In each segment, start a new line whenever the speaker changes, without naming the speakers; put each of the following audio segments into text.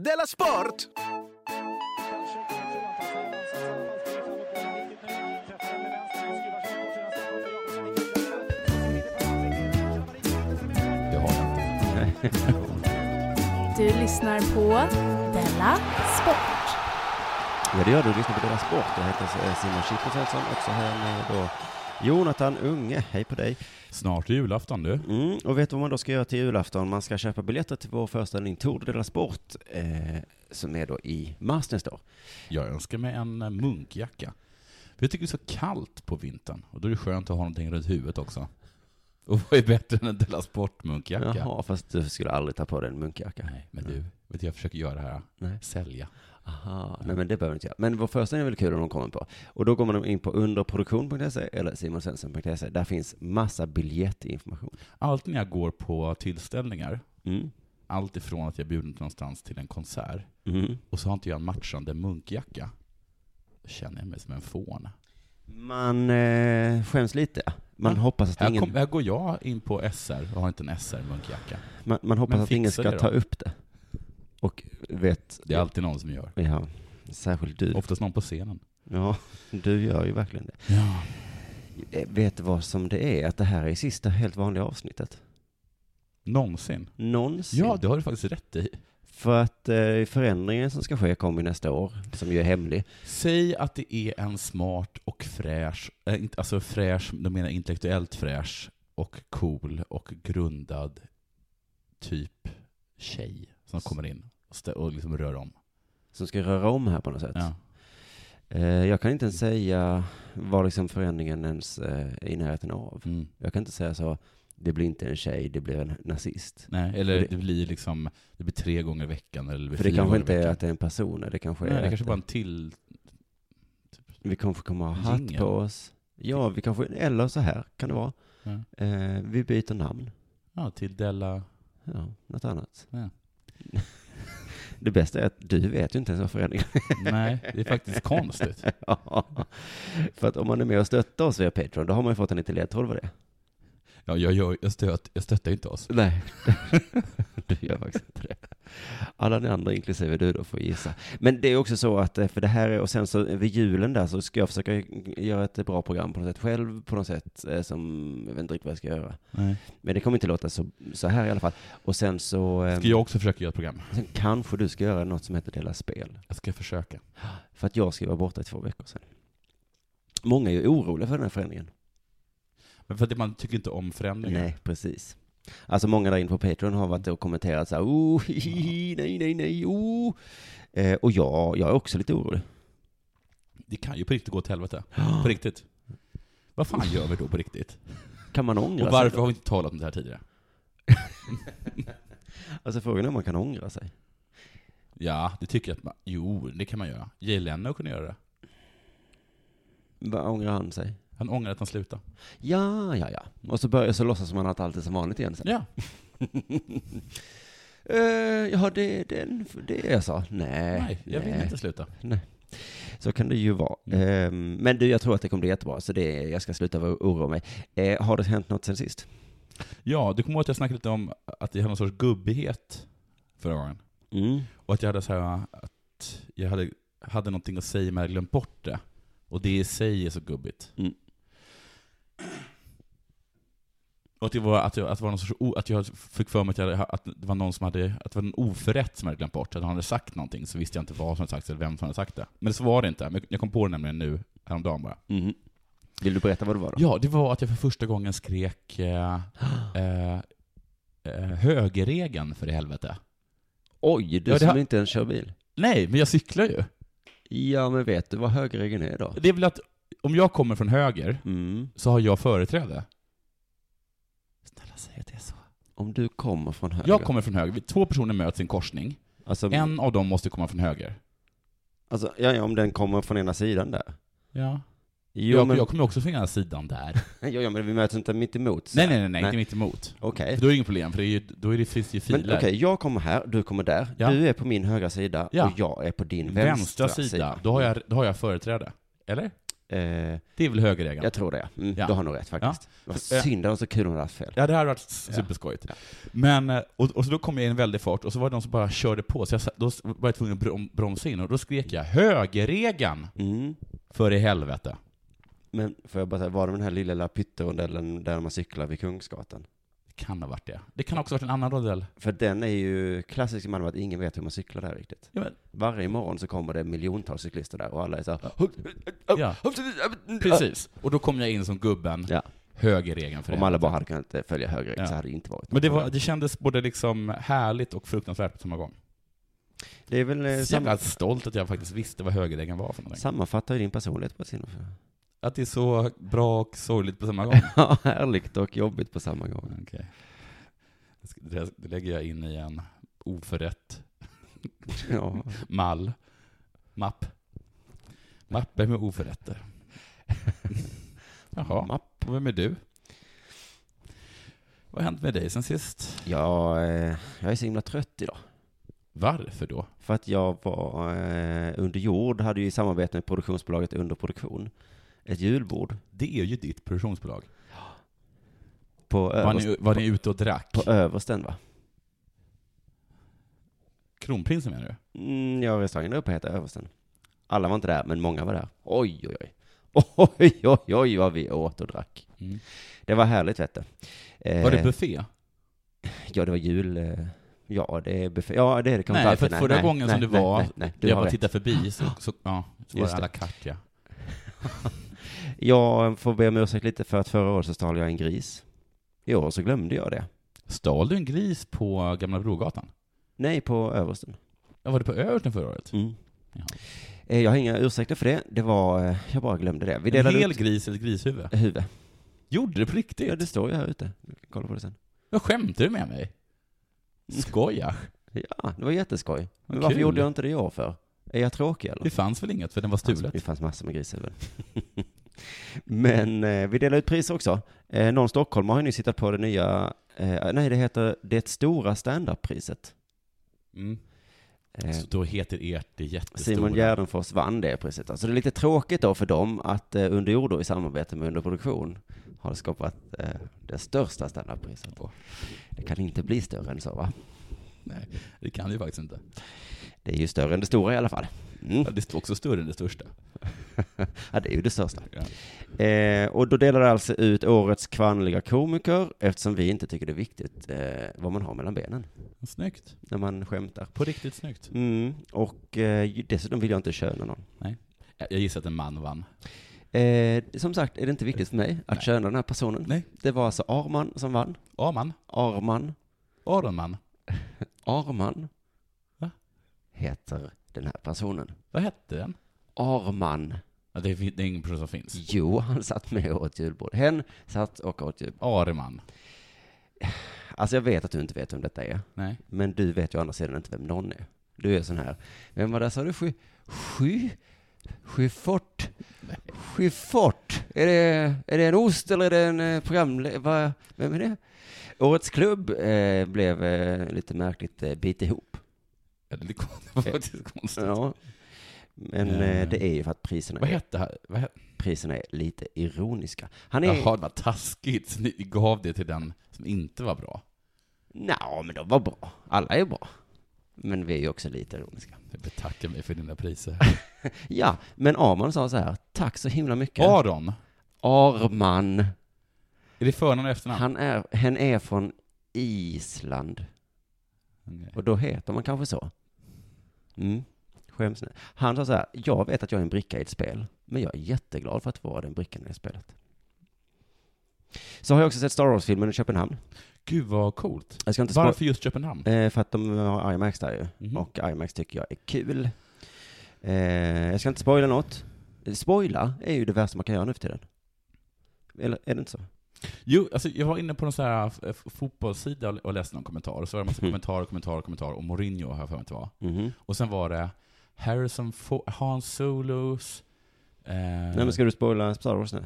Della Sport!
Det har jag inte.
Du lyssnar på Della Sport.
Ja, det gör du. Du lyssnar på Dela Sport. Jag heter eh, Simon Chippen Svensson och så här med då Jonathan Unge. Hej på dig.
Snart är julafton du.
Mm, och vet du vad man då ska göra till julafton? Man ska köpa biljetter till vår föreställning Tour de la Sport, eh, som är då i mars nästa år.
Jag önskar mig en eh, munkjacka. För jag tycker det är så kallt på vintern och då är det skönt att ha någonting runt huvudet också. Och vad är bättre än en Della Sport-munkjacka?
Jaha, fast du skulle aldrig ta på dig en munkjacka.
Nej, men du, vet du, jag försöker göra det här.
Nej.
Sälja.
Aha, nej men det behöver vi inte göra. Men vår föreställning är väldigt kul om de kommer på. Och då går man in på underproduktion.se eller simonsvensson.se. Där finns massa biljettinformation.
Alltid när jag går på tillställningar,
Mm.
allt ifrån att jag bjuden någonstans till en konsert,
Mm.
och så har inte jag en matchande munkjacka, då känner jag mig som en fån.
Man eh, skäms lite. Man
Ja.
hoppas att
Här,
ingen,
kom, här går jag in på SR och har inte en SR-munkjacka.
man, man hoppas
Men
att ingen
fixa
ska
det då.
ta upp det. Och vet...
Det är alltid någon som gör.
Ja, särskilt du.
Oftast någon på scenen.
Ja, du gör ju verkligen det.
Ja.
Eh, Vet du vad som det är? Att det här är sista helt vanliga avsnittet.
Någonsin.
Någonsin.
Ja, det har du faktiskt rätt i.
För att eh, förändringen som ska ske kommer ju nästa år, som ju är hemlig.
Säg att det är en smart och fräsch, eh, inte- alltså fräsch, de menar intellektuellt fräsch och cool och grundad typ tjej som kommer in och, stä- och liksom rör om.
Som ska röra om här på något sätt.
Ja.
Eh, jag kan inte ens säga vad liksom förändringen ens eh, är i närheten av.
Mm.
Jag kan inte säga så, det blir inte en tjej, det blir en nazist.
Nej, eller
Det-
det, blir liksom, det blir tre gånger i veckan eller det blir
För det
fyra
kanske
gånger i
inte är
veckan.
att det är en person, det kanske
Nej,
är
det
att
kanske bara en till... typ.
vi kanske kommer att ha hatt
Jingel.
på oss. Ja, vi kanske, eller så här kan det vara.
Ja.
Eh, vi byter namn.
Ja, till Della...
Ja, något annat.
Ja.
Det bästa är att du vet ju inte ens vad förändringen
Nej, det är faktiskt konstigt.
är. För att om man är med och stöttar oss via Patreon, då har man ju fått en liten ledtråd vad det är.
Ja, jag, jag, jag, stöt, jag stöttar ju inte oss.
Nej, du gör faktiskt inte det. Alla ni andra, inklusive du då, får gissa. Men det är också så att, eh, för det här är, och sen så vid julen där så ska jag försöka göra ett bra program på något sätt själv, på något sätt eh, som, jag vet inte riktigt vad jag ska göra.
Nej.
Men det kommer inte låta så, så här i alla fall. Och sen så, eh,
Ska jag också försöka göra ett program?
sen kanske du ska göra något som heter Dela Spel.
Jag ska försöka.
För att jag ska vara borta i två veckor sedan. Många är ju oroliga för den här förändringen.
Men för att man tycker inte om förändringar.
Nej, precis. Alltså många där inne på Patreon har varit och kommenterat så här, oh, hi, hi, hi, nej, nej, nej, oh. Eh, och jag, jag är också lite orolig.
Det kan ju på riktigt gå åt helvete. På riktigt. Vad fan gör vi då på riktigt?
Kan man ångra
Och
sig?
varför
då?
har vi inte talat om det här tidigare?
Alltså frågan är om man kan ångra sig.
Ja, det tycker jag att man... Jo, det kan man göra. Jay Leno kunde göra det.
Vad ångrar han sig?
Han ångrar att han slutade. Ah,
Ja, ja, ja. Och så börjar så låtsas man att allt är som vanligt igen sen.
Ja.
Eh, ja, det är den, det är jag sa. Nej,
Nej, jag vill inte Mm. sluta.
Så kan det ju vara. Ehm, men du, jag tror att det kommer bli jättebra, så det, jag ska sluta vara- oroa mig. Eh, har det hänt något sen sist?
Ja, du kommer ihåg att jag snackade lite om att jag hade någon sorts gubbighet förra gången.
Mm.
Och att jag hade så här, att jag hade, hade någonting att säga men jag hade glömt bort det. Och det i sig är så gubbigt.
Mm.
Och att det var att jag, att det var någon sorts, o- att jag fick för mig att, jag, hade- att det var någon som hade, att det var en oförrätt som jag hade glömt bort. Att han hade sagt någonting så visste jag inte vad som hade sagts eller vem som hade sagt det. Men så var det inte. Men jag kom på det nämligen nu, häromdagen bara.
Mhm. Vill du berätta vad det var då?
Ja, det var att jag för första gången skrek eh, eh, eh, högerregeln för i helvete.
Oj, du
Ja, det
som
har-
inte ens kör bil.
Nej, men jag cyklar ju.
Ja, men vet du vad högerregeln är då?
Det är väl att om jag kommer från höger
Mm.
så har jag företräde. Snälla säg att det är så.
Om du kommer från höger.
Jag kommer från höger. Vi- Två personer möts i en korsning.
Alltså,
En av dem måste komma från höger.
alltså ja, ja, om den kommer från ena sidan där.
Ja.
Jo,
jag,
men,
jag kommer också från ena sidan där.
ja, ja, men vi möts inte mitt emot. så
Nej, nej, nej,
här.
nej,
Nej.
inte mitt emot.
Okej.
För då är det inget problem, för det, är ju, då är det, finns ju
Men
filer.
okej, jag kommer här, du kommer där.
Ja.
Du är på min högra sida
Ja.
och jag är på din vänstra,
Vänstra sida, då har, jag, då har jag företräde. Eller?
Eh,
Det är väl högerregeln?
Jag tror det, ja. Mm,
Ja.
Du har nog rätt faktiskt. Vad
Eh.
synd, det var så kul om det hade fel.
Ja, det här hade varit
Ja.
superskojigt.
Ja.
Men, eh, och, och så då kom jag i en väldig fart, och så var det någon som bara körde på, så jag, sa- då var jag tvungen att brom, bromsa in, och då skrek jag 'Högerregeln!'
Mm.
För i helvete.
Men får jag bara säga, var det den här lilla, lilla pytterondellen där man cyklar vid Kungsgatan?
Det kan ha varit det. Det kan också ha varit en annan rondell.
För den är ju klassisk i Malmö att ingen vet hur man cyklar där riktigt.
Ja, men,
Varje morgon så kommer det miljontals cyklister där och alla är så här,
ja, precis. Och då kom jag in som gubben,
Ja.
högerregeln för i
Om alla bara hade kunnat eh, följa högre
Ja.
så hade det inte varit
Men det,
något
var, det kändes både liksom härligt och fruktansvärt på samma gång.
problem. det är väl eh,
Så
sam...
jävla stolt att jag faktiskt visste vad högerregeln var för någonting.
sammanfattar ju din personlighet på ett sinne.
Att det är så bra och sorgligt på samma gång.
Ja, härligt och jobbigt på samma gång.
Okej. Det ska- Det, det lägger jag in i en oförrätt
Ja.
mall. Mapp. Mapper med oförrätter. Jaha,
Mapp.
och vem är du? Vad har hänt med dig sen sist?
Ja, eh, jag är så himla trött idag.
Varför då?
För att jag var eh, under jord, hade ju i samarbete med produktionsbolaget Underproduktion ett julbord
Det är ju ditt produktionsbolag.
på,
Var
överst,
ni, var ni ute och drack?
på översten va?
Kronprinsen menar du?
Mm, ja, restaurangen där uppe heter Översten. Alla var inte där, men många var där. Oj, oj, oj. Oj, oj, oj vad vi åt och drack.
Mm.
Det var härligt vet du. Eh,
Var det buffé?
Ja, det var jul. eh, Ja, det är buffé. Ja, det är det kanske
Nej,
alltid.
för att förra gången som det var,
Nej, nej, du
jag
har
bara
rätt.
tittade förbi, så, så, ja, så var
Just
det à la carte ja.
Jag får be om ursäkt lite för att förra året så stal jag en gris. I år så glömde jag det.
Stal du en gris på Gamla Brogatan?
Nej, på Översten.
Ja, var det på Översten förra året?
Mm.
Jaha.
Eh, Jag har inga ursäkter för det. Det var, eh, jag bara glömde det. Vi
en
delade
hel
ut
gris eller ett grishuvud?
huvud.
Gjorde du på riktigt?
Ja, det står ju här ute. Du kan kolla på det sen.
Jag skämtar du med mig? Skojar?
Ja, det var jätteskoj. Men
Vad
varför
kul.
gjorde jag inte det i år för? Är jag tråkig eller? Alltså,
Det fanns väl inget för den var stulet?
Det fanns massor med grishuvuden. Men eh, vi delar ut priser också. Eh, någon stockholmare har ju nyss hittat på det nya, eh, nej det heter Det stora standardpriset.
Mm.
Eh,
Så då heter ert det jättestora.
Simon Gärdenfors vann det priset. Så det är lite tråkigt då för dem att eh, Under jord då i samarbete med Underproduktion har skapat eh, det största standardpriset.
Alltså,
Och Det kan inte bli större än så va?
Nej, det kan du faktiskt inte.
Det är ju större än det stora i alla fall. Mm.
Ja, det är också större än det största.
Ja, det är ju det största.
Ja.
Eh, och då delar det alltså ut årets kvinnliga komiker eftersom vi inte tycker det är viktigt eh, vad man har mellan benen
Snyggt.
när man skämtar.
På riktigt snyggt.
Mm, och eh, ju- dessutom vill jag inte köna någon.
Jag gissar att en man vann.
Eh, som sagt är det inte viktigt för mig att
Nej.
köna den här personen.
Nej.
Det var alltså Arman som vann.
Aman?
Arman.
Aronman?
Arman.
Va?
Heter den här personen.
Vad hette den?
Arman.
Ja, det, fin- det är ingen person som finns.
Jo, han satt med och åt julbord. Hen satt och åt julbord.
Areman?
Alltså jag vet att du inte vet vem detta är.
Nej.
Men du vet ju å andra sidan inte vem någon är. Du är sån här, vem var det, sa du? Sky, sky, Schyffert? Schyffert? Är det, är det en ost eller är det en eh, programle- vad Vem är det? Årets klubb eh, blev eh, lite märkligt eh, bit ihop.
Ja, Det kom- det var faktiskt konstigt.
Ja. Men
Eh.
eh, det är ju för att priserna
Vad
är,
hette han? Vad hette-
priserna är lite ironiska. Han är,
Jaha, det var taskigt. Så ni gav det till den som inte var bra.
Nja, men de var bra. Alla är bra. Men vi är ju också lite ironiska.
Jag betackar mig för dina priser.
Ja, men Arman sa så här, tack så himla mycket.
Aron?
Arman.
Är det förnamn och efternamn?
Han är, hen är från Island.
Okej.
Och då heter man kanske så. Mm. Skäms nu. Han sa så här, jag vet att jag är en bricka i ett spel, men jag är jätteglad för att vara den brickan i det spelet. Så har jag också sett Star Wars-filmen i Köpenhamn.
Gud vad coolt.
Jag ska inte spoila,
Varför just Köpenhamn?
eh, för att de har IMAX där ju.
Mhm.
Och IMAX tycker jag är kul. Eh, jag ska inte spoila något. Spoila är ju det värsta man kan göra nu för tiden. Eller är det inte så?
Jo, alltså jag var inne på någon sån här eh, f- fotbollssida och läste någon kommentar, och så var det en massa
Mm.
kommentarer, kommentarer, kommentarer, och Mourinho har jag för mig att det var.
Mhm.
Och sen var det Harrison Ford, Han Solos... Eh,
Nej men ska du spoila Star Wars nu?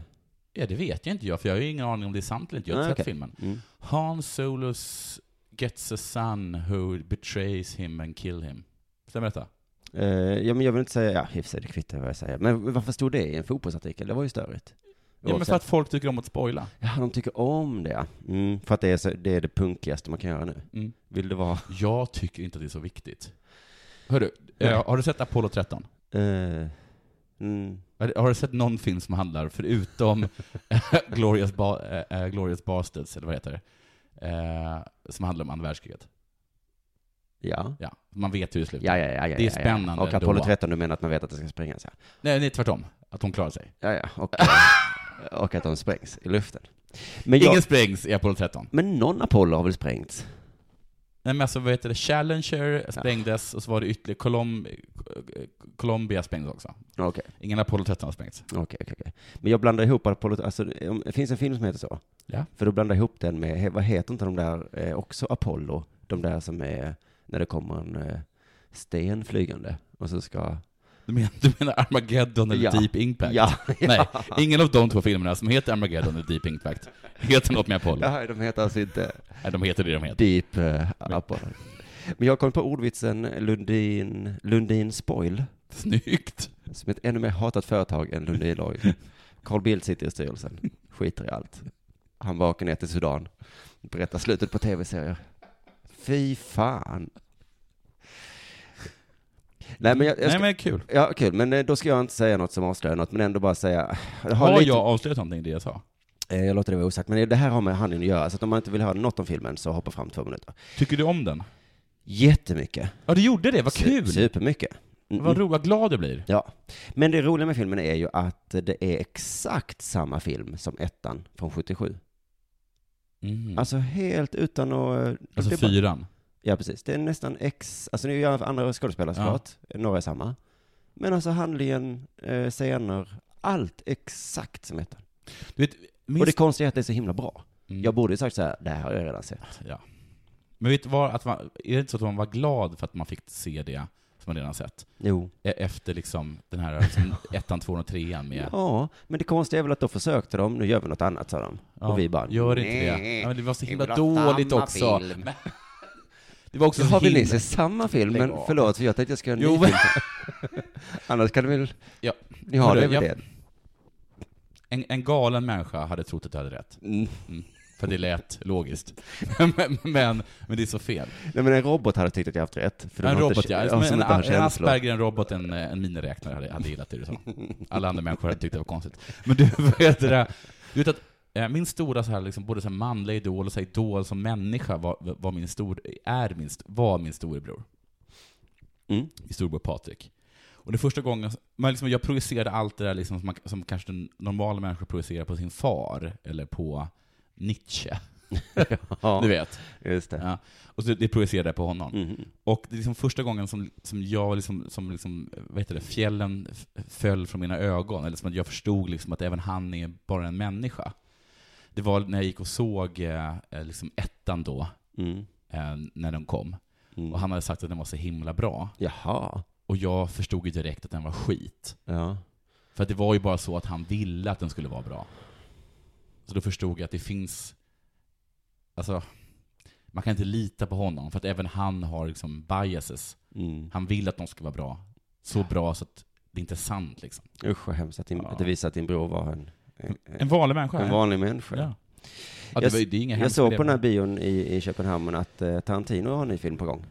Ja, det vet jag inte jag, för jag har ju ingen aning om det är sant eller inte. Jag har
Nej,
inte sett
okej.
filmen. Han Solos gets a son who betrays him and kill him. Stämmer detta?
Eh, ja, men jag vill inte säga, ja, i och för sig, det kvittar vad jag säger. Men varför stod det i en fotbollsartikel? Det var ju störigt.
Ja, men för att folk tycker om att spoila.
ja, de tycker om det. Mm, för att det är, så, det är det punkigaste man kan göra nu.
Mm.
Vill det vara?
Jag tycker inte att det är så viktigt. Hörru, eh, har du sett Apollo 13?
Eh, mm,
Har har du sett någon film som handlar, förutom eh, Glorious, ba- eh, eh, Glorious Bastards, eller vad heter det? Eh, som handlar om andra världskriget.
ja.
Ja, man vet hur det slutar.
Ja, ja, ja, ja,
Det är
ja,
spännande
Ja. Och Apollo
då.
13, du menar att man vet att det ska sprängas? Ja,
Nej, det är tvärtom. Att hon klarar sig.
ja, ja. Och, eh, och att de sprängs i luften. Men, jag,
Ingen sprängs i Apollo 13.
men någon Apollo har väl sprängts?
Nej men alltså vad heter det, Challenger sprängdes och så var det ytterligare, Colom- eh, Colombia sprängdes också.
Okej, okej,
Ingen Apollo 13 har sprängts.
okej. okej. Men jag blandar ihop Apollo, alltså, om- det finns en film som heter så.
Ja.
För då blandar jag ihop den med, he- vad heter inte de där, eh, också Apollo, de där som är, när det kommer en eh, sten flygande och så ska...
Du menar, du menar Armageddon eller
Ja.
Deep Impact?
Ja,
Nej, ingen av de två filmerna som heter Armageddon eller Deep Impact heter något med Apollo.
Nej, de heter alltså inte
Nej, de heter det de heter.
Deep eh, Apollo. Men jag kom på ordvitsen Lundin, Lundin Spoil,
Snyggt!
som är ett ännu mer hatat företag än Lundin Oil. Carl Bildt sitter i styrelsen, skiter i allt. Han bara åker ner till Sudan, berättar slutet på tv-serier. Fy fan. Nej, men jag, jag
Nej
ska...
men kul.
Ja, kul. Men eh, då ska jag inte säga något som avslöjar något, men ändå bara säga... Jag
Har
lite-
jag avslöjat någonting i det jag sa?
Eh, Jag låter det vara osagt, men det här har med handlingen att göra, så att om man inte vill höra något om filmen så hoppa fram två minuter.
Tycker du om den?
Jättemycket.
Ja, du gjorde det, vad
Su-
kul!
Supermycket. Mm,
Vad
mm.
roligt, vad glad du blir.
Ja. Men det roliga med filmen är ju att det är exakt samma film som ettan från 77.
Mm. Alltså,
Alltså helt utan att... eh, det är bara-
fyran.
Ja, precis. Det är nästan ex... Alltså nu är jag andra skådespelare
Ja.
såklart, några är samma. Men alltså handlingen, eh, scener, allt exakt som ettan.
Du vet, minns...
Och det konstiga är att det är så himla bra.
Mm.
Jag borde ju sagt så här, det här har jag redan sett.
Ja. Men vet du vad, att man, är det inte så att man var glad för att man fick se det som man redan sett?
Jo.
E- Efter liksom den här liksom, ettan, tvåan och trean med...
Ja, men det konstiga är väl att då försökte de, nu gör vi något annat, sa de.
Ja,
och vi bara,
Gör inte det.
"Nej,
Ja, men det var så
vi
himla
vill ha
dåligt
samma
också.
film."
Men- Det var också
Så har
så
vi ni
himla...
se samma film,
Lägg
men
av.
förlåt, för jag tänkte jag ska göra
Jo,
en ny
men-
film. Annars kan du väl,
Ja.
ni har
Hörru,
det med
jag-
det.
En, en galen människa hade trott att du hade rätt.
Mm.
För det lät logiskt. men, men, men det är så fel.
Nej men en robot hade tyckt att jag haft rätt. För de
En
har
robot
inte,
ja.
som
en,
inte har
en, en
känslor.
Asperger, en robot, en, eh, en miniräknare hade, hade gillat det du sa. Alla andra människor hade tyckt det var konstigt. Men du vet det där, du vet att eh, min stora så här, liksom, både så här manliga idol och så här, idol som människa var, var min stor, är min, st- var min storebror.
Mm.
Min storebror Patrik. Och det första gången, men liksom, jag projicerade allt det där liksom, som, man, som kanske den normala människan projicerar på sin far, eller på Nietzsche.
Ja,
Du vet.
just det.
Ja. Och så det projicerade jag på honom.
Mhm.
Och det är liksom första gången som, som jag liksom, som liksom, vad heter det, fjällen f- föll från mina ögon, eller som att jag förstod liksom att även han är bara en människa. Det var när jag gick och såg eh, eh, liksom ettan då,
Mm.
eh, när den kom.
Mm.
Och han hade sagt att den var så himla bra.
Jaha.
Och jag förstod ju direkt att den var skit.
Ja.
För att det var ju bara så att han ville att den skulle vara bra. Så då förstod jag att det finns, alltså, man kan inte lita på honom, för att även han har liksom biases.
Mm.
Han vill att de ska vara bra. Så bra så att det inte är sant liksom.
Usch vad hemskt att, din,
Ja.
att det visar att din bror var en, en,
En vanlig människa?
en vanlig människa.
Ja. Ja, det,
Jag-
var, ju- det är inga
Jag såg på den här bion i, i Köpenhamn att eh, Tarantino har en ny film på gång.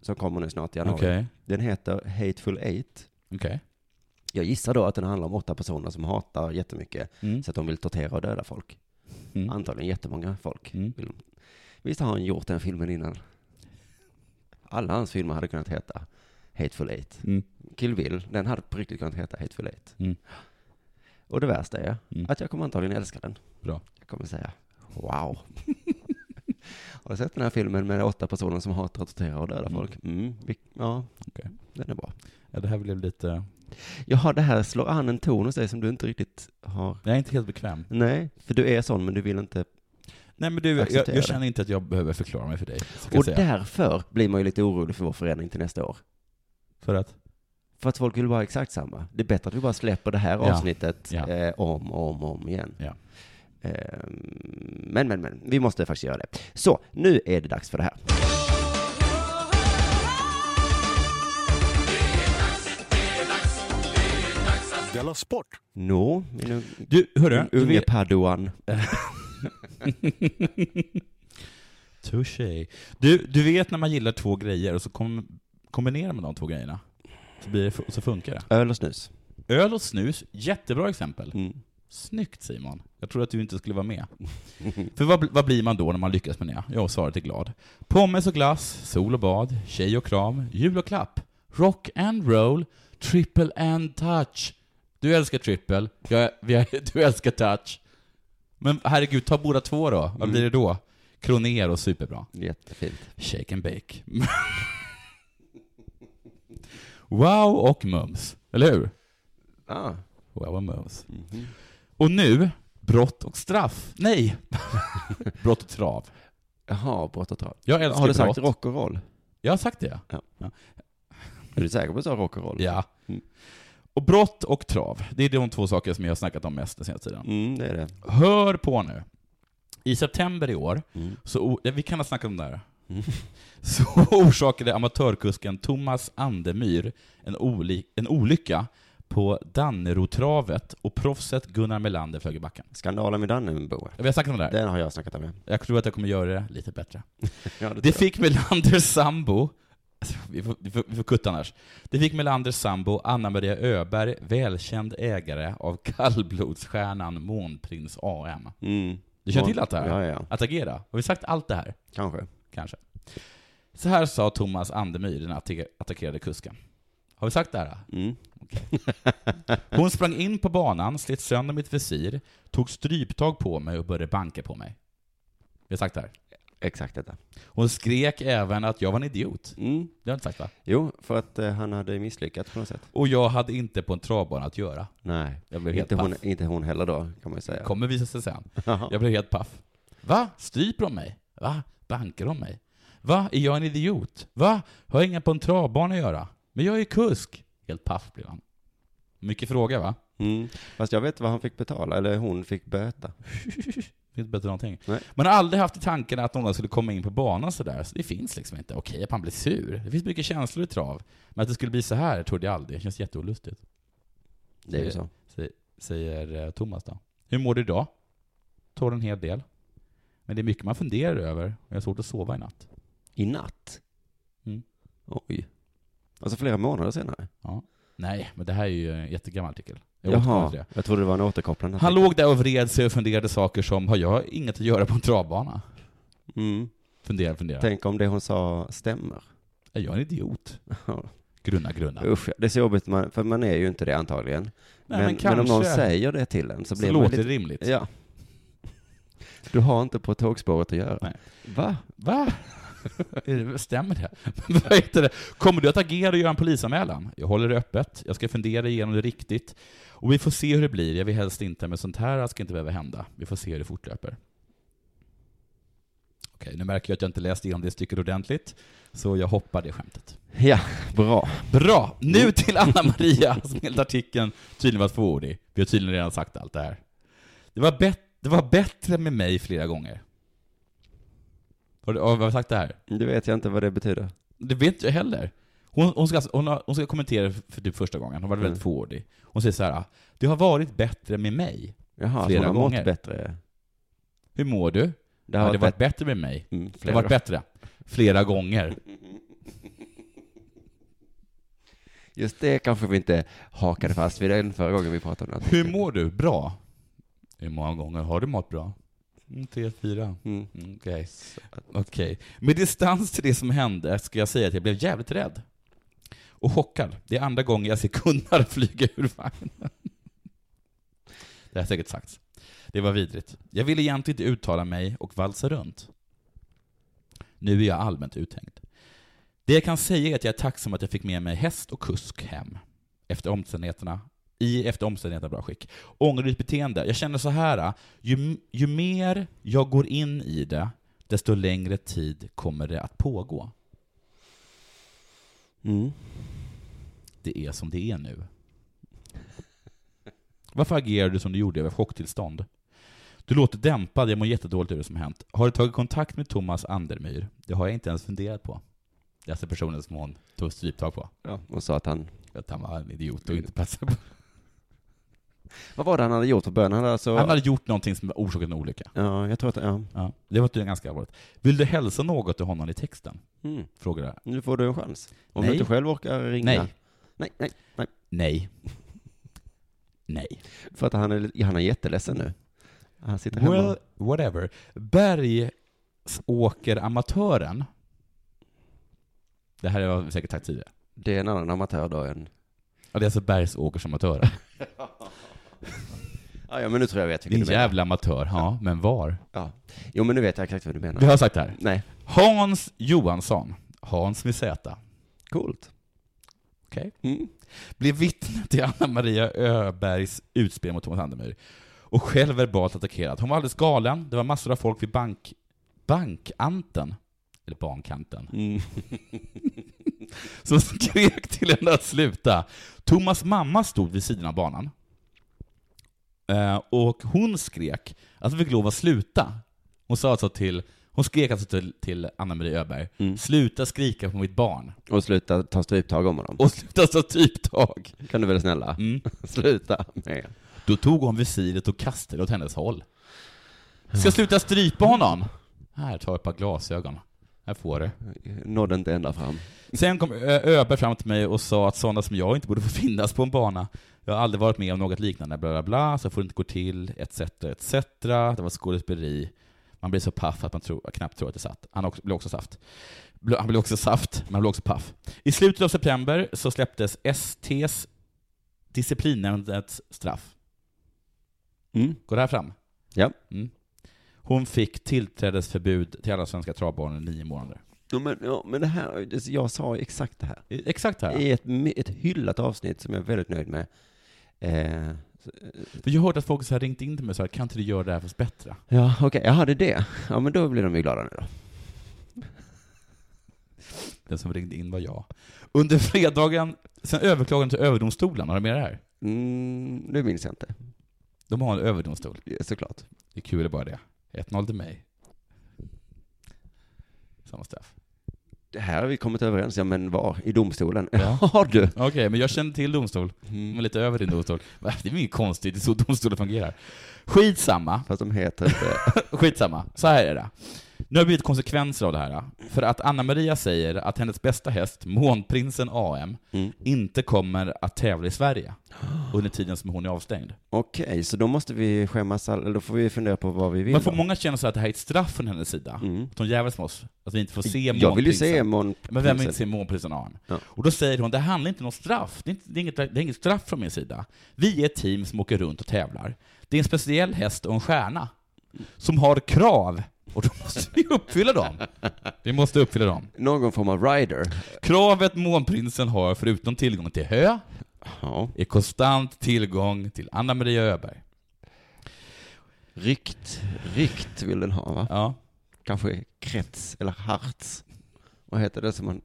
Som kommer nu snart i januari.
Okej.
Den heter Hateful Eight.
Okej.
Jag gissar då att den handlar om åtta personer som hatar jättemycket.
Mm.
Så att de vill tortera och döda folk.
Mm.
Antagligen jättemånga folk.
Mm.
Vill de. Visst har han gjort den filmen innan? Alla hans filmer hade kunnat heta Hateful Eight.
Mm.
Kill Bill, den hade på riktigt kunnat heta Hateful Eight.
Mm.
Och det värsta är
Mm.
att jag kommer antagligen älska den.
Bra.
Jag kommer säga wow. Har du sett den här filmen med åtta personer som hatar att tortera och döda
Mm.
folk? Mm, vi, ja,
Okej.
den är bra.
Ja, det här blev lite...
Jaha, det här slår an en ton hos dig som du inte riktigt har.
Jag är inte helt bekväm.
Nej, för du är sån men du vill inte.
Nej men du, jag, jag,
Acceptera
jag
det.
känner inte att jag behöver förklara mig för dig. Så kan
Och
jag säga.
därför blir man ju lite orolig för vår förändring till nästa år.
För att?
För att folk vill vara exakt samma. Det är bättre att vi bara släpper det här
Ja.
avsnittet
Ja.
Eh, om och om, och om igen.
Ja.
Eh, men, men, men. Vi måste faktiskt göra det. Så, nu är det dags för det här.
Della Sport!
Nå, min
Du, hörru.
un- unge Paduan.
Touché. Du, du vet när man gillar två grejer och så kom, kombinerar man de två grejerna. Så, blir det, fu- så funkar det.
Öl och snus.
Öl och snus, jättebra exempel.
Mm.
Snyggt Simon. Jag trodde att du inte skulle vara med. För vad, bl- vad blir man då när man lyckas med det? Ja, och svaret är glad. Pommes och glass, sol och bad, tjej och kram, jul och klapp, rock and roll, triple and touch. Du älskar triple, jag, jag, du älskar touch. Men herregud, ta båda två då. Vad blir det då? Kroner och superbra.
Jättefint.
Shake and bake. wow och mums, eller hur?
Ah.
Wow och mums. Och nu, brott och straff. Nej! brott och trav.
Jaha, brott och trav.
Jag älskar
Har du
brott.
sagt rock Mm. och roll?
Jag har sagt det.
Ja.
Ja.
Är du säker på att du sa rock och roll? Mm.
Och brott och trav, det är de två saker som jag har snackat om mest den senaste tiden.
Mm, det är det.
Hör på nu. I september i år,
Mm.
så, ja, vi kan ha snackat om det här.
Mm.
Så orsakade amatörkusken Thomas Andemyr en, oli- en olycka på Dannerotravet och proffset Gunnar Melander flög i backen.
Skandalen med Dannebo.
Vi har snackat om det här.
Den har jag snackat om. ja.
Jag tror att jag kommer göra det lite bättre.
Ja, det
Det
tror
fick Melanders sambo, vi får, vi får, vi får kutta annars. Det fick Melanders sambo Anna-Maria Öberg, välkänd ägare av kallblodsstjärnan Månprins AM.
jag. Mm.
Du känner till allt det här?
Ja, ja, ja.
Att agera? Har vi sagt allt det här?
Kanske.
Kanske. Så här sa Thomas Andemyr, den atte- attackerade kusken. Har vi sagt det här?
Mm.
Hon sprang in på banan, slet sönder mitt visir, tog stryptag på mig och började banka på mig. Vi har sagt det här.
Exakt detta.
Hon skrek även att jag var en idiot.
Mm.
Det har jag inte sagt va?
Jo, för att eh, han hade misslyckats på något sätt.
Och jag hade inte på en travbana att göra.
Nej.
Jag blev helt
Inte hon,
paff.
inte hon heller då, kan man ju säga.
kommer visa sig sen.
Jaha.
Jag blev helt paff. Va? Stryper de mig? Va? Bankar de mig? Va? Är jag en idiot? Va? Har jag inga på en travbana att göra? Men jag är ju kusk! Helt paff blev han. Mycket fråga va?
Mm. Fast jag vet vad han fick betala, eller hon fick böta.
Det är inte bättre än någonting.
Nej.
Man har aldrig haft i tanken att någon skulle komma in på banan sådär. Så det finns liksom inte. Okej att man blir sur. Det finns mycket känslor i trav. Men att det skulle bli så här trodde jag aldrig. Det känns jätteolustigt.
Det är ju så.
Sä- Säger eh, Thomas då. Hur mår du idag? Tål en hel del. Men det är mycket man funderar över. Och jag har svårt att sova i natt.
I natt?
Mm.
Oj. Alltså flera månader senare?
Nej, men det här är ju en jättegammal artikel. Jag återkommer
Jaha,
till det.
jag trodde det var en återkopplande.
Han låg där och vred sig och funderade saker som, har jag inget att göra på en travbana?
mm.
Fundera, fundera.
Tänk om det hon sa stämmer.
Är jag en idiot? Grunna, grunna.
Usch, det är så jobbigt, man, för man är ju inte det antagligen.
Nej,
men,
men
men,
kanske.
om någon säger det till en så
så,
blir man
låter
lite...
det rimligt.
Ja. Du har inte på tågspåret att göra.
Nej.
Va?
Va? Är det- Stämmer det? Vad heter det? Kommer du att agera och göra en polisanmälan? Jag håller det öppet. Jag ska fundera igenom det riktigt. Och vi får se hur det blir. Jag vill helst inte, men sånt här ska inte behöva hända. Vi får se hur det fortlöper. Okej, nu märker jag att jag inte läst igenom det stycket ordentligt, så jag hoppar det skämtet.
Ja, bra.
Bra! Nu till Anna-Maria, som enligt artikeln tydligen var tvåordig. Vi har tydligen redan sagt allt det här. Det var, bet- det var bättre med mig flera gånger. Har du, har vi sagt det här?
Det vet jag inte vad det betyder.
Det vet inte jag heller. Hon, hon, ska, alltså- hon, har, hon ska kommentera för typ första gången, hon var väldigt
Mm.
fåordig. Hon säger så här, det har varit bättre med mig.
Jaha,
Flera
flera hon har
gånger.
mått bättre.
Hur mår du?
Det
Ja, det
har
har
varit
varit
bättre.
bättre med mig.
Mm,
Det har
flera
varit bättre. Flera gånger.
Just det kanske vi inte hakade fast vid den förra gången vi pratade om det.
Hur mår du? Bra. Hur många gånger har du mått bra? Mm, Tre, fyra.
Mm.
Mm, Okej. Okej. Med distans till det som hände ska jag säga att jag blev jävligt rädd. Och chockad. Det är andra gången jag ser Gunnar flyga ur vagnen. Det har säkert sagts. Det var vidrigt. Jag ville egentligen inte uttala mig och valsa runt. Nu är jag allmänt uthängd. Det jag kan säga är att jag är tacksam att jag fick med mig häst och kusk hem. Efter omständigheterna, I efter omständigheterna bra skick. Ångerrikt beteende. Jag känner så här. Ju, ju mer jag går in i det, desto längre tid kommer det att pågå.
Mm.
Det är som det är nu. Varför agerar du som du gjorde över chocktillstånd? Du låter dämpad, jag mår jättedåligt över det som hänt. Har du tagit kontakt med Thomas Andermyr? Det har jag inte ens funderat på. Det är alltså personen som hon tog stryptag på.
Ja, och sa att han...
Att han var en idiot och inte passade på.
Vad var det han hade gjort på bön? Han hade alltså...
Han hade gjort någonting som orsakat en olycka.
Ja, jag tror att... Ja.
Ja. Det var tydligen ganska allvarligt. Vill du hälsa något till honom i texten?
Mm.
Frågade jag.
Nu får du en chans. Om
Nej.
du inte själv orkar ringa.
Nej.
Nej, nej, nej.
Nej. Nej.
För att han är, han är jätteledsen nu. Han sitter hemma.
Well, whatever. Bergsåkeramatören. Det här har jag säkert sagt tidigare.
Det är en annan amatör då än...
Ja, det är alltså Bergsåkersamatören.
Ja, ja, men nu tror jag vet
Din
vilken du menar.
jävla amatör. Ja, men var?
Ja. Jo, men nu vet jag exakt vad du menar.
Vi har sagt det här.
Nej.
Hans Johansson. Hans med Z.
Coolt.
Okej.
Mm.
blev vittne till Anna Maria Öbergs utspel mot Thomas Andemyr och själv verbalt attackerad. Hon var alldeles galen, det var massor av folk vid bank... bankanten, eller bankanten,
Mm.
som skrek till henne att sluta. Thomas mamma stod vid sidan av banan. Eh, Och hon skrek att hon fick lov att sluta. Hon sa alltså till, hon skrek alltså till, till Anna Maria Öberg,
Mm.
sluta skrika på mitt barn.
Och sluta ta stryptag om honom.
Och sluta ta typtag.
Kan du väl snälla?
Mm.
Sluta med.
Då tog hon visiret och kastade det åt hennes håll. Ska jag sluta strypa honom? Här, ta ett par glasögon. Här får du.
Nådde inte ända fram.
Sen kom Ö- Öberg fram till mig och sa att sådana som jag inte borde få finnas på en bana. Jag har aldrig varit med om något liknande, bla bla bla, så får det inte gå till, etc, etc. Det var skådespeleri. Man blir så paff att man tror, knappt tror att det är satt. Han också, blev också saft. Bl- Han blev också saft, men han blev också paff. I slutet av september så släpptes STs disciplinnämndens straff.
Mm.
Går det här fram?
Ja.
Mm. Hon fick tillträdesförbud till alla svenska travbanor i nio månader.
Ja, men, ja, men det här, det- jag sa ju exakt det här.
I- Exakt här.
I ett, my- ett hyllat avsnitt som jag är väldigt nöjd med. Eh, så-
För jag hörde att folk så här ringt in till mig och sa kan inte du göra det här fast bättre?
ja, okej, jaha, det är det. Ja, men då blir de ju glada nu då.
Den som ringde in var jag. Under fredagen, sen överklagade till överdomstolen, har du med det här?
Mm, det minns jag inte,
De har en överdomstol.
såklart.
Det är kul det bara det. 1-0 till mig. Samma straff.
Det här har vi kommit överens, ja men var? I domstolen?
Ja. Mm.
Har du?
Okej, men jag känner till domstol.
Mm.
De är lite över din domstol. Va, Det är väl inget konstigt, det är så domstolar fungerar. Skitsamma.
Fast de heter inte...
Skitsamma, så här är det. Nu har det blivit konsekvenser av det här. För att Anna-Maria säger att hennes bästa häst, Månprinsen AM,
Mm.
inte kommer att tävla i Sverige under tiden som hon är avstängd.
Okej, så då måste vi skämmas, all... eller då får vi fundera på vad vi vill.
Men får
då.
många känna så att det här är ett straff från hennes sida?
Mm.
Att hon jävlas med oss? Att vi inte får se Månprinsen?
Jag vill ju se Mon...
Men vem vill inte se Månprinsen AM?
Ja.
Och då säger hon, det handlar inte om något straff. Det är, inte, det, är inget, det är inget straff från min sida. Vi är ett team som åker runt och tävlar. Det är en speciell häst och en stjärna som har krav. Och då måste vi uppfylla dem. Vi måste uppfylla dem.
Någon form av rider.
Kravet Månprinsen har, förutom tillgång till hö,
Ja.
är konstant tillgång till Anna Maria Öberg.
Rykt, rykt vill den ha va?
Ja.
Kanske krets eller harts. Vad heter det som man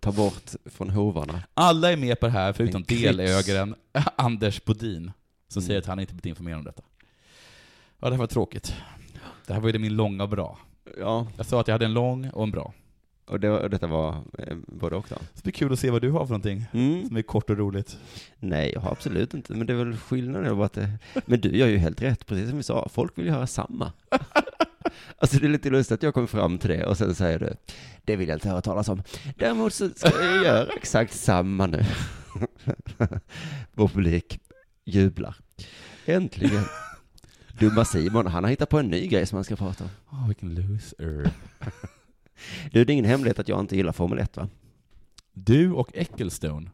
tar bort från hovarna?
Alla är med på det här, förutom
En krips.
delägaren Anders Bodin, som
Mm.
säger att han inte blivit informerad om detta. Ja, det här var tråkigt. Det här var ju min långa och bra.
Ja,
Jag sa att jag hade en lång och en bra.
och det, var- detta var eh, både och då.
Så det blir kul att se vad du har för någonting
Mm.
som är kort och roligt.
Nej, jag har absolut inte, men det är väl skillnaden bara att det... Men du gör ju helt rätt, precis som vi sa, folk vill ju höra samma. Alltså det är lite lustigt att jag kom fram till det och sen säger du, det vill jag inte höra talas om. Däremot så ska jag göra exakt samma nu. Vår publik jublar. Äntligen. Dumma Simon, han har hittat på en ny grej som han ska prata om.
Åh, vilken loser.
Du, det är ingen hemlighet att jag inte gillar Formel 1 va?
Du och Ecclestone.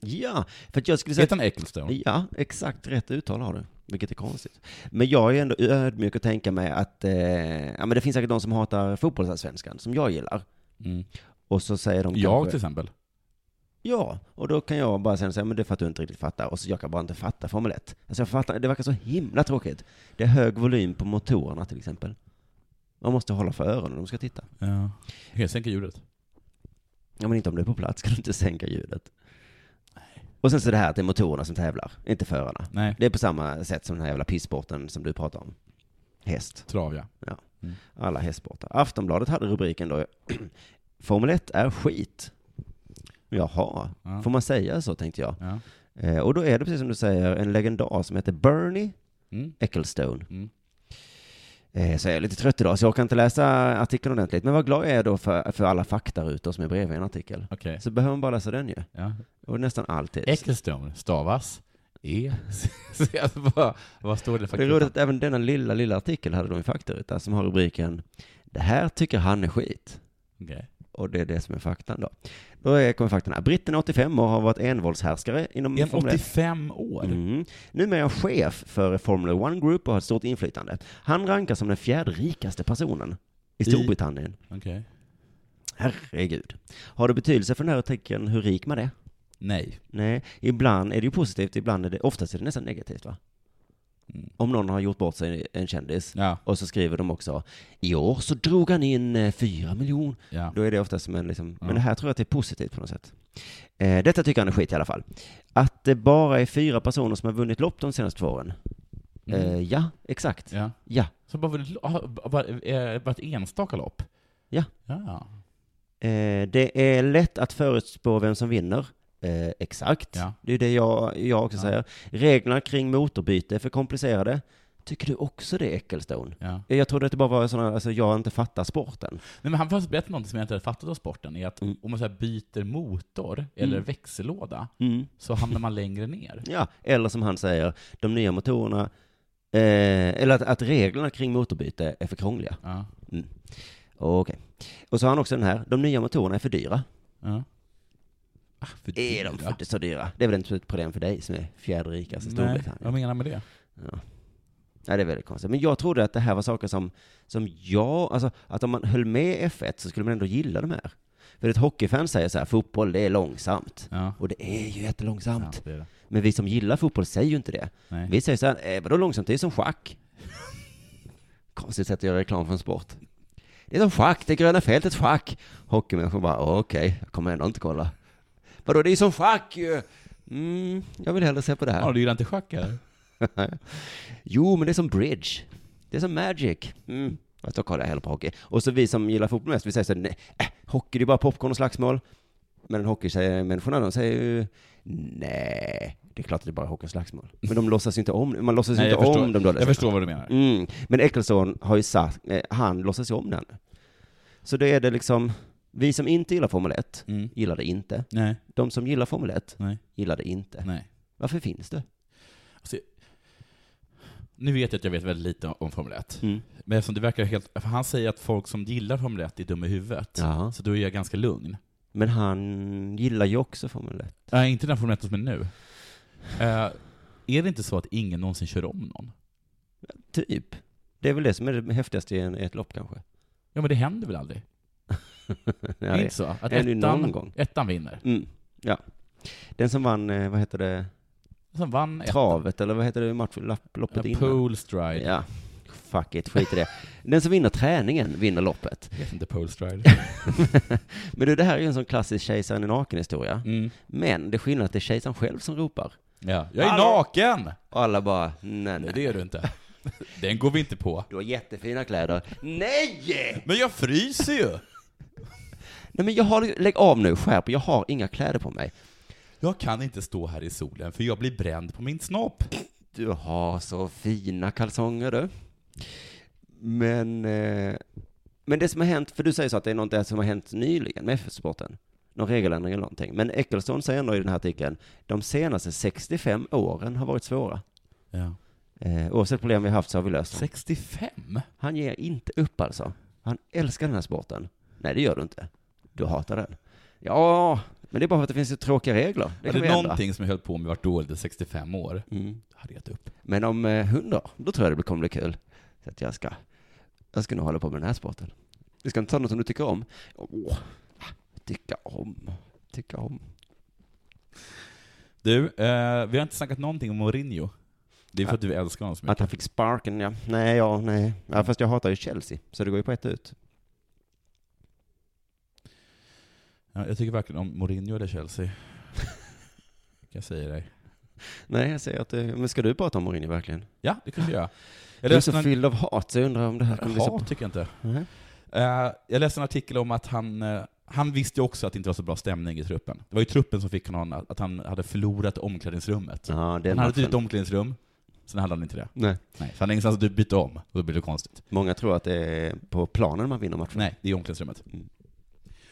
Ja, för att jag skulle säga...
Heter han Ecclestone?
Ja, exakt rätt uttal har du. Vilket är konstigt. Men jag är ändå ödmjuk och tänka mig att eh, ja, men det finns säkert de som hatar fotbollsallsvenskan, som jag gillar.
Mm.
Och så säger de
Jag till
kanske,
exempel.
Ja, och då kan jag bara sen säga, men det är för att du inte riktigt fattar. Och så jag kan bara inte fatta Formel 1. Alltså jag fattar, det verkar så himla tråkigt. Det är hög volym på motorerna till exempel. Man måste hålla för öronen om de ska titta.
Ja. Jag sänker ljudet.
Ja, men inte om du är på plats kan du inte sänka ljudet. Och sen så det här att det är motorerna som tävlar, inte förarna.
Nej,
Det är på samma sätt som den här jävla pisssporten som du pratar om. Häst.
trav ja.
Alla hästsportar. Aftonbladet hade rubriken då, Formel 1 är skit. Jaha,
Ja.
får man säga så tänkte jag.
ja.
Eh, och då är det precis som du säger, en legendar som heter Bernie
Mm.
Ecclestone.
Mm.
Eh, så jag är lite trött idag, så jag kan inte läsa artikeln ordentligt. Men vad glad jag är då för, för alla fakta ute som är bredvid en artikel.
Okej.
Så behöver man bara läsa den ju.
Ja.
Och nästan alltid.
Ecclestone stavas E. Så alltså, vad, vad står det för
det är roligt att även denna lilla, lilla artikel hade de i faktaruta som har rubriken Det här tycker han är skit.
Okej.
Och det är det som är faktan då. Då är- kommer faktan här. Britten är 85 år har varit envåldshärskare inom
Är han
Formel 1.
85 år?
Mm. Numera är han chef för Formula One Group och har ett stort inflytande. Han rankas som den fjärde rikaste personen i Storbritannien.
Okej.
Herregud. Har det betydelse för den här artikeln hur rik man är?
Nej.
Nej, ibland är det ju positivt, ibland är det, oftast är det nästan negativt va?
Mm.
Om någon har gjort bort sig, en kändis,
Ja.
och så skriver de också, i år så drog han in eh, fyra miljoner.
ja.
Då är det oftast som en liksom,
Ja.
men det här tror jag att det är positivt på något sätt. Eh, detta tycker han är skit i alla fall. Att det bara är fyra personer som har vunnit lopp de senaste två åren.
Mm.
Eh, ja, exakt.
ja.
Ja.
Så bara, bara, bara, eh, bara ett enstaka lopp?
Ja.
Ja.
Eh, det är lätt att förutspå vem som vinner. Eh, exakt.
Ja.
Det är det jag, jag också
Ja.
säger. Reglerna kring motorbyte är för komplicerade. Tycker du också det, Ecclestone?
ja.
Eh, Jag trodde att det bara var sådana, alltså jag inte fattar sporten.
Nej, men han har berättat något som jag inte hade fattat av sporten, är att
Mm.
om man så här byter motor eller
Mm.
växellåda så hamnar man längre ner.
Ja, eller som han säger, de nya motorerna, eh, eller att, att reglerna kring motorbyte är för krångliga.
Ja.
Okej. Och så har han också den här, de nya motorerna är för dyra.
Ja. Ah, för
Är de för, så dyra? Alltså, Det är väl inte ett problem för dig som är fjärde rikast i
Nej,
Storbritannien?
vad menar du med det?
Ja. Nej, det är väldigt konstigt. Men jag trodde att det här var saker som, som jag, alltså att om man höll med F1 så skulle man ändå gilla de här. För ett hockeyfan säger så här, fotboll det är långsamt.
Ja.
Och det är ju
Ja,
jättelångsamt.
det är det.
Men vi som gillar fotboll säger ju inte det.
Nej.
Vi säger så här, eh, vadå långsamt, det är som schack. Konstigt sätt att göra reklam för en sport. Det är som schack, det gröna fältet schack. Hockeymänniskor bara, "Åh, okej, jag kommer ändå inte kolla. Vadå, det är som schack ju. Mm, jag vill hellre se på det här.
Ja, du gillar inte schack eller?
Jo, men det är som bridge. Det är som magic. Mm. Fast då kollar jag hellre på hockey. Och så vi som gillar fotboll mest, vi säger så här, nej, äh, hockey det är bara popcorn och slagsmål. Men hockeymänniskorna, de säger ju, nej, det är klart att det är bara hockey och slagsmål. Men de låtsas ju inte om det. Man låtsas ju
Nej,
inte
jag, förstår,
om de dåliga
jag förstår vad du menar.
sakerna. Mm. Men Eccleston har ju sagt, eh, han låtsas ju om den. Så det är det liksom, vi som inte gillar Formel 1,
Mm.
gillar det inte.
Nej,
De som gillar Formel 1,
nej,
gillar det inte.
nej.
Varför finns det?
Nu vet jag att jag vet väldigt lite om Formel 1.
Mm.
Men eftersom det verkar helt... För han säger att folk som gillar Formel 1 är dumma i huvudet.
Jaha.
Så då är jag ganska lugn.
Men han gillar ju också Formel 1.
Nej, inte den Formel 1 som är nu. Eh, är det inte så att ingen någonsin kör om någon?
Typ. Det är väl det som är det häftigaste i, en, i ett lopp kanske.
Ja, men det händer väl aldrig?
Ja,
är det
det-
inte så? Att
är det ju någon
ettan,
gång.
ettan vinner?
Mm. Ja. Den som vann, eh, vad heter det,
Sen vann ettan.
travet eller vad heter det, match, lapp, loppet
Ja,
innan?
Pole stride.
Ja. Fuck it, skit i det. Den som vinner träningen vinner loppet.
Jag vet inte pole stride.
Men du, det här är ju en sån klassisk kejsaren i naken historia.
Mm.
Men det är skillnad att det är kejsaren själv som ropar.
Ja. Jag är
Hallå!
naken!
Och alla bara, nej,
Nej,
nej.
det är du inte. Den går vi inte på.
Du har jättefina kläder. Nej!
Men jag fryser ju!
Nej men jag har, lägg av nu, skärp Jag har inga kläder på mig.
Jag kan inte stå här i solen för jag blir bränd på min snopp.
Du har så fina kalsonger du. Men, eh, men det som har hänt, för du säger så att det är något där som har hänt nyligen med FF-sporten. Någon regeländring eller någonting. Men Eccleston säger ändå i den här artikeln, de senaste 65 åren har varit svåra.
Ja.
Eh, oavsett problem vi haft så har vi löst dem.
65?
Han ger inte upp alltså. Han älskar den här sporten. Nej, det gör du inte. Du hatar den. Ja, men det är bara för att det finns så tråkiga regler. Det
Det
kan
Hade
vi ändra.
någonting som jag höll på med varit dåligt i 65 år,
Mm.
hade jag gett upp.
Men om eh, hundra, då tror jag det blir- kommer bli kul. Så att jag ska, jag ska nog hålla på med den här sporten. Du ska inte ta något som du tycker om? Åh, tycka om, tycka om.
Du, eh, vi har inte snackat någonting om Mourinho. Det är för att du älskar honom så
Att
mycket.
han fick sparken, ja. Nej, ja, nej. Ja, fast jag hatar ju Chelsea, så det går ju på ett ut.
Ja, jag tycker verkligen om Mourinho eller Chelsea. Kan jag säga dig.
Nej, jag säger att eh, Men ska du prata om Mourinho verkligen?
Ja, det kunde jag göra. Jag
Du är så
läste en...
fylld av hat, så jag undrar om det här kommer bli så...
Hat tycker jag inte.
Nej.
Eh, jag läste en artikel om att han, eh, han visste ju också att det inte var så bra stämning i truppen. Det var ju truppen som fick honom att att han hade förlorat omklädningsrummet.
Ja, den
han hade ett
matchen.
litet omklädningsrum, sen hade han inte det.
Nej.
Nej, så han hade ingenstans att byta om, och då blir det konstigt.
Många tror att det är på planen man vinner matchen.
Nej, det är i omklädningsrummet.
Mm.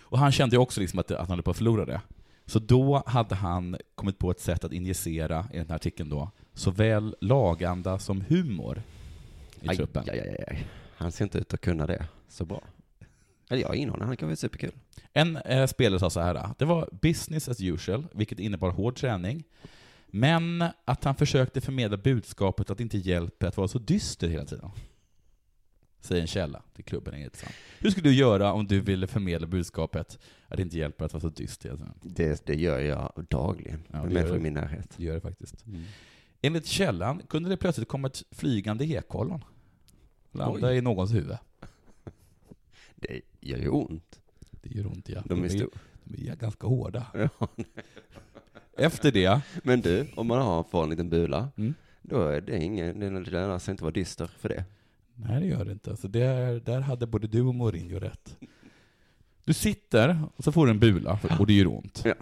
Och han kände ju också liksom att, att han höll på att förlora det. Så då hade han kommit på ett sätt att injicera, i den här artikeln då, såväl laganda som humor i
Aj,
truppen.
aj, aj, aj. Han ser inte ut att kunna det så bra. Eller jag har ingen aning, han kan vara superkul.
En eh, spelare sa så här, det var business as usual, vilket innebar hård träning, men att han försökte förmedla budskapet att det inte hjälper att vara så dyster hela tiden. Säger en källa till klubben är intressant. Hur skulle du göra om du ville förmedla budskapet att det inte hjälper att vara så dyster hela tiden?
Det, det gör jag dagligen
Ja,
med
det
människor
gör
i min närhet.
Det gör det faktiskt.
Mm.
Enligt källan kunde det plötsligt komma ett flygande ekollon. Landa i någons huvud.
Det gör ju ont.
Det gör ont ja.
De är stora.
de är ganska hårda.
Ja.
Efter det,
Men du, om man har får en liten bula,
Mm.
då är det ingen, det lönar sig inte att vara dyster för det.
Nej, det gör det inte. Alltså, där, där hade både du och Mourinho rätt. Du sitter, och så får du en bula, och det gör ont.
Ja.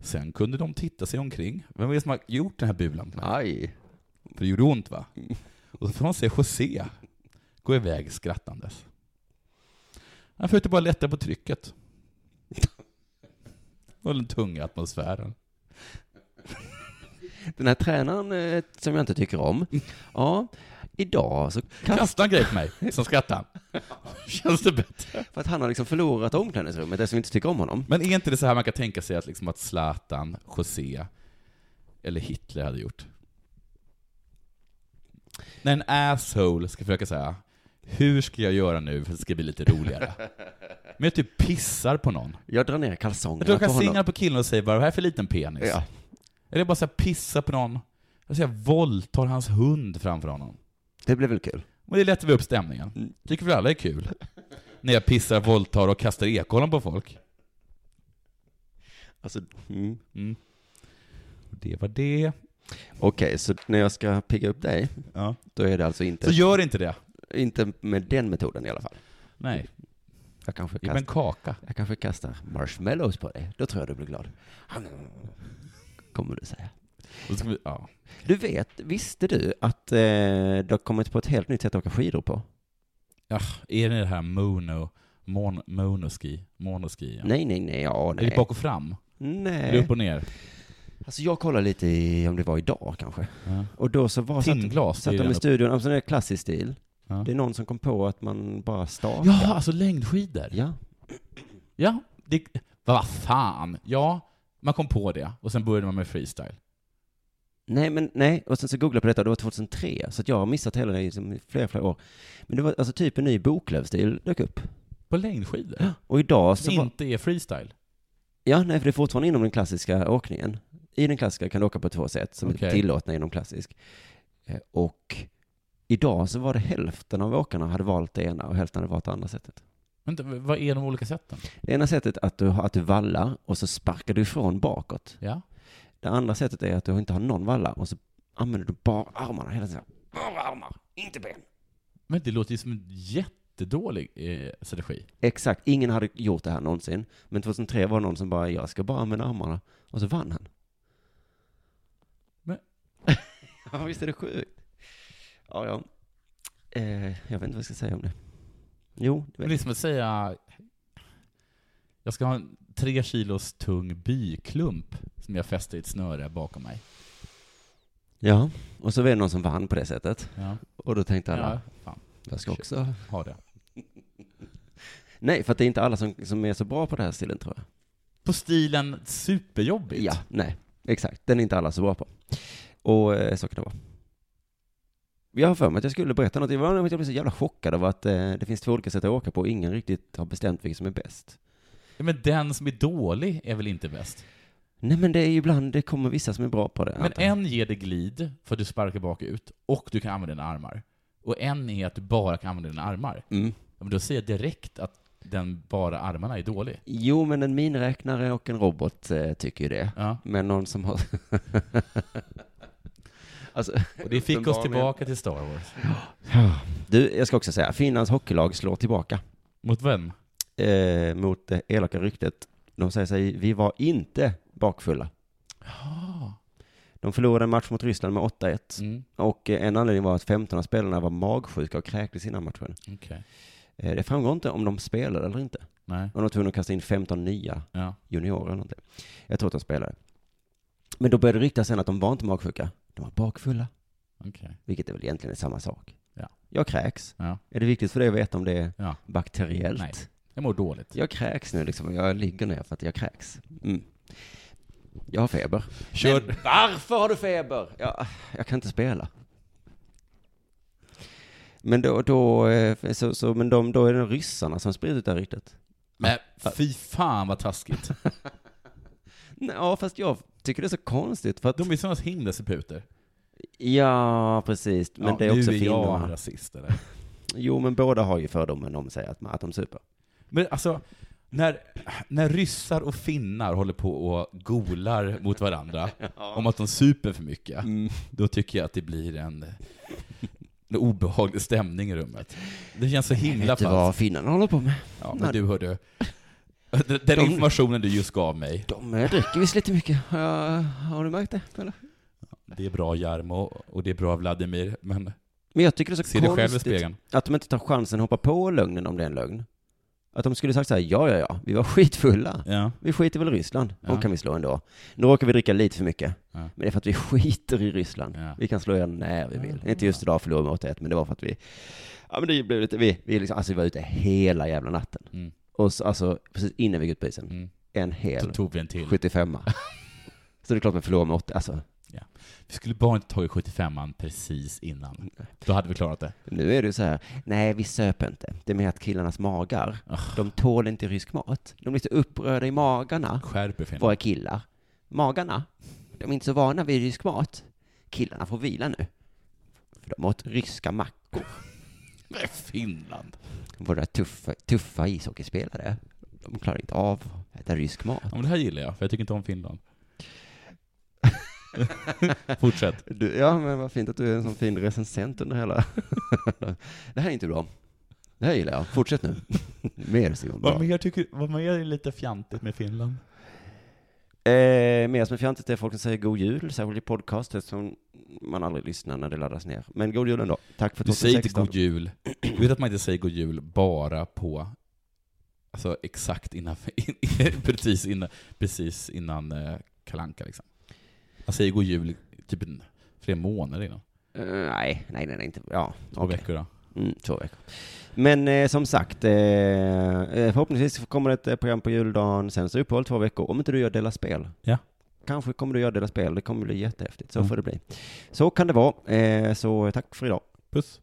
Sen kunde de titta sig omkring. Vem är det som har gjort den här bulan? på mig?
Aj!
För det gjorde ont, va?
Mm.
Och så får man se José gå iväg skrattandes. Han försökte bara lätta på trycket. Och den tunga atmosfären.
Den här tränaren eh, som jag inte tycker om, ja, idag så kast,
Kasta en grej på mig, sen skrattade han. Känns det bättre?
för att han har liksom förlorat omklädningsrummet eftersom vi inte tycker om honom.
Men är inte det så här man kan tänka sig att, liksom att Zlatan, José eller Hitler hade gjort? När en asshole ska försöka säga hur ska jag göra nu för att det ska bli lite roligare? Men jag typ pissar på någon.
Jag drar ner
Jag
kalsongerna
tror jag
på
kan
honom.
singla på killen och säga vad är det här för liten penis?
Ja.
Eller bara så här, pissa på någon. Alltså jag våldtar hans hund framför honom.
Det blev väl kul?
Och det lättar vi upp
Mm.
stämningen. Tycker väl alla är kul? När jag pissar, våldtar och kastar ekollon på folk.
Alltså, mm.
Mm. Och det var det.
Okej, så när jag ska pigga upp dig,
Ja.
då är det alltså inte,
Så gör inte det.
inte med den metoden i alla fall.
Nej,
Jag kanske,
ge
kast,
mig en kaka.
jag kanske kastar marshmallows på dig, då tror jag du blir glad. Kommer du säga.
Och så ska vi, ja.
Du vet, visste du att eh, det har kommit på ett helt nytt sätt att åka skidor på?
ja. Är det det här mono, mon, monoski? Monoski, ja.
Nej, nej, nej, ja,
Är det
nej.
bak och fram? Är det
Nej.
upp och ner?
Alltså jag kollade lite i, om det var idag kanske.
Ja.
Och då så var satt,
Timglas? det
satt
är
de i
den
studion, alltså det är klassisk stil.
Ja.
Det är någon som kom på att man bara
upp-
stakar.
ja, alltså längdskidor.
Ja.
Ja, det, vad fan. Ja, man kom på det och sen började man med freestyle.
Nej, men nej, och sen så googlade jag på detta och det var 2003, så att jag har missat hela det liksom, i flera, flera år. Men det var alltså typ en ny Boklövstil dök upp.
På längdskidor?
Och idag
Som
så var,
inte är freestyle?
Ja, nej, för det är fortfarande inom den klassiska åkningen. I den klassiska kan du åka på två sätt som är
Okej.
tillåtna inom klassisk. Eh, Och idag så var det hälften av åkarna hade valt det ena och hälften hade valt det andra sättet.
Vänta, vad är de olika sätten?
Det ena sättet är att du, att du vallar och så sparkar du ifrån bakåt.
Ja.
Det andra sättet är att du inte har någon valla och så använder du bara armarna hela tiden. Bara armar, inte ben.
Men det låter ju som en jättedålig eh, strategi.
Exakt, ingen hade gjort det här någonsin. Men 2003 var det någon som bara, jag ska bara använda armarna. Och så vann han.
Men-
ja, visst är det sjukt? Ja, ja. Eh, jag vet inte vad jag ska säga om det. Jo, det
Men det
vet
är
jag.
som att säga... Jag ska ha en tre kilos tung byklump som jag fäster i ett snöre bakom mig.
Ja, och så var det någon som vann på det sättet.
Ja,
Och då tänkte alla,
ja fan,
jag ska också...
ha det.
Nej, för att det är inte alla som, som är så bra på det här stilen tror jag.
På stilen superjobbigt.
Ja, nej, exakt. Den är inte alla så bra på. Och eh, så kan det vara. Jag har för mig att jag skulle berätta något. Jag, var, jag blev så jävla chockad över att eh, det finns två olika sätt att åka på och ingen riktigt har bestämt vilket som är bäst.
Ja, Men den som är dålig är väl inte bäst?
Nej men det är ju ibland, det kommer vissa som är bra på det.
Men
antar jag.
en ger dig glid, för att du sparkar bakut, och du kan använda dina armar. Och en är att du bara kan använda dina armar.
Mm.
Ja, Men då säger jag direkt att den bara armarna är dålig.
Jo men en miniräknare och en robot eh, tycker ju det.
Ja.
Men någon som har... alltså,
Och det fick oss
uppenbarligen.
tillbaka till Star Wars.
Du, jag ska också säga, Finlands hockeylag slår tillbaka.
Mot vem?
eh, mot det elaka ryktet. De säger sig, vi var inte bakfulla.
Ja.
De förlorade en match mot Ryssland med 8-1.
Mm.
Och eh, en anledning var att 15 av spelarna var magsjuka och kräktes innan matchen.
Okej.
Eh, det framgår inte om de spelade eller inte.
Nej.
Och de var tvungna att kasta in 15 nya
Ja.
juniorer eller någonting. Jag tror att de spelade. Men då började det ryktas sen att de var inte magsjuka. De var bakfulla.
Okej.
Vilket är väl egentligen samma sak.
Ja.
Jag kräks.
Ja.
Är det viktigt för dig att veta om det är
Ja.
bakteriellt?
Nej. Jag mår dåligt.
Jag kräks nu liksom. Jag ligger ner för att jag kräks. Mm. Jag har feber.
Kör.
Men varför har du feber? Jag, jag kan inte spela. Men då, då, eh, så, så, men de, då är det ryssarna som sprider ut det här ryktet.
Men fy fan vad taskigt.
Nej, Ja, fast jag tycker det är så konstigt för att...
De är sådana himla seputer.
Ja, precis. Men det är också
nu är jag
finnarna.
en rasist eller?
Jo, men båda har ju fördomen om sig att, att de super.
Men alltså, när, när ryssar och finnar håller på och golar mot varandra om att de super för mycket, då tycker jag att det blir en, en obehaglig stämning i rummet. Det känns så himla
Vet du
falskt.
vad finnarna håller på med?
Ja, men du hörde, den den informationen du just gav mig,
De eh, dricker visst lite mycket. Ja, har du märkt det? Eller?
det är bra Jarmo och det är bra Vladimir, men
Men jag tycker det är så
se dig själv i
konstigt
spegeln.
att de inte tar chansen att hoppa på lögnen om det är en lögn. Att de skulle sagt så här, ja, ja, ja, vi var skitfulla.
Ja.
Vi skiter väl i Ryssland. De
Ja.
kan vi slå ändå. Nu råkar vi dricka lite för mycket.
Ja.
Men det är för att vi skiter i Ryssland.
Ja.
Vi kan slå er när vi vill. Inte just idag förlorade vi mot ett, men det var för att vi... Ja, men det blev lite... Vi, vi, liksom, alltså, vi var ute hela jävla natten.
Mm.
Och så, alltså, precis innan vi gick ut på isen.
Mm.
En
Så
hel
tog vi en till.
75 Så det är klart man förlorar med 80. Alltså,
Vi skulle bara inte tagit 75an precis innan. Då hade vi klarat det.
nu är det ju så här. Nej, vi söp inte. Det är med att killarnas magar,
Ah.
de tål inte rysk mat. De blir så upprörda i magarna.
Skärp er finnar.
våra killar. Magarna, de är inte så vana vid rysk mat. Killarna får vila nu. För de åt ryska mackor.
Finland.
Våra tuffa, tuffa ishockeyspelare, de klarar inte av att äta rysk mat.
Ja, men det här gillar jag, för jag tycker inte om Finland. Fortsätt.
ja, men vad fint att du är en sån fin recensent under hela... det här är inte bra. Det här gillar jag. Fortsätt nu. Mer Simon. Bra.
Vad mer, tycker, vad mer är lite fjantigt med Finland?
Eh, mer som är fjantigt är folk som säger god jul, särskilt i podcast eftersom man aldrig lyssnar när det laddas ner. Men god jul ändå. Tack för
Du säger inte
2016.
god jul. Du vet att man inte säger god jul bara på, alltså exakt innan, precis innan, precis innan eh, Kalle Anka liksom. Man säger god jul typ en, flera månader innan.
Eh, nej, nej, nej, nej, inte. Ja,
Två
okej.
veckor då.
Mm, två veckor. Men eh, som sagt, eh, eh, förhoppningsvis kommer det ett eh, program på juldagen, sen så uppehåll två veckor. Om inte du gör Dela Spel.
Ja.
Kanske kommer du göra Dela Spel, det kommer bli jättehäftigt. Så
Mm.
får det bli. Så kan det vara. Eh, så tack för idag.
Puss.